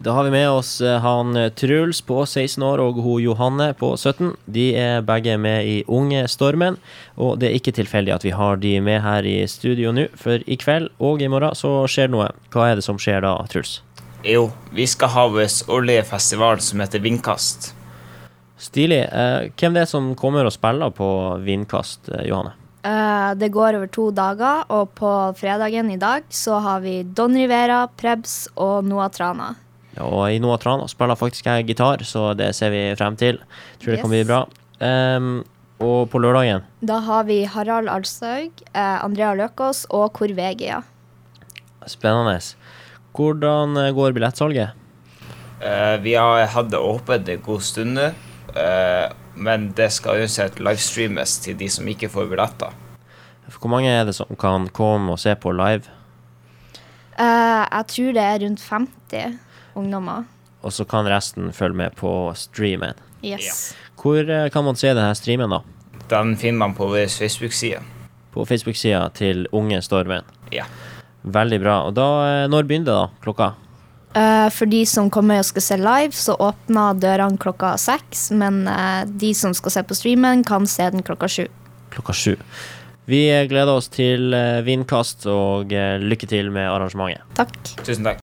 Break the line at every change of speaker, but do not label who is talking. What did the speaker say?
Da har vi med oss eh, han Truls på 16 år og hun Johanne på 17. De er begge med i Unge Stormen, og det er ikke tilfeldig at vi har de med her i studio nå, for i kveld og i morgen så skjer det noe. Hva er det som skjer da, Truls?
Jo, vi skal ha vår årlige festival som heter Vindkast.
Stilig. Eh, hvem det er som kommer og spiller på Vindkast, eh, Johanne?
Eh, det går over to dager, og på fredagen i dag så har vi Don Rivera, Prebz og Noah Trana.
Og i Noah Trana spiller faktisk jeg gitar, så det ser vi frem til. Tror det kan bli
Yes.
bra. Ehm, og på lørdagen
Da har vi Harald Alshaug, eh, Andrea Løkås og Corvegia.
Spennende. Hvordan eh, går billettsalget?
Eh, vi har hatt det åpent en god stund nå, eh, men det skal uansett livestreames til de som ikke får billetter.
Hvor mange er det som kan komme og se på live?
Eh, jeg tror det er rundt 50 ungdommer.
Og så kan resten følge med på streamen.
Yes.
Hvor eh, kan man se denne streamen, da?
Den finner man på vår Facebook-side.
På Facebook-sida til Unge Stormen.
Ja.
Veldig bra. Og da, eh, når begynner det, da? Klokka?
Eh, for de som kommer og skal se live, så åpner dørene klokka seks. Men eh, de som skal se på streamen, kan se den klokka sju.
Klokka sju. Vi eh, gleder oss til eh, vindkast, og eh, lykke til med arrangementet.
Takk.
Tusen takk.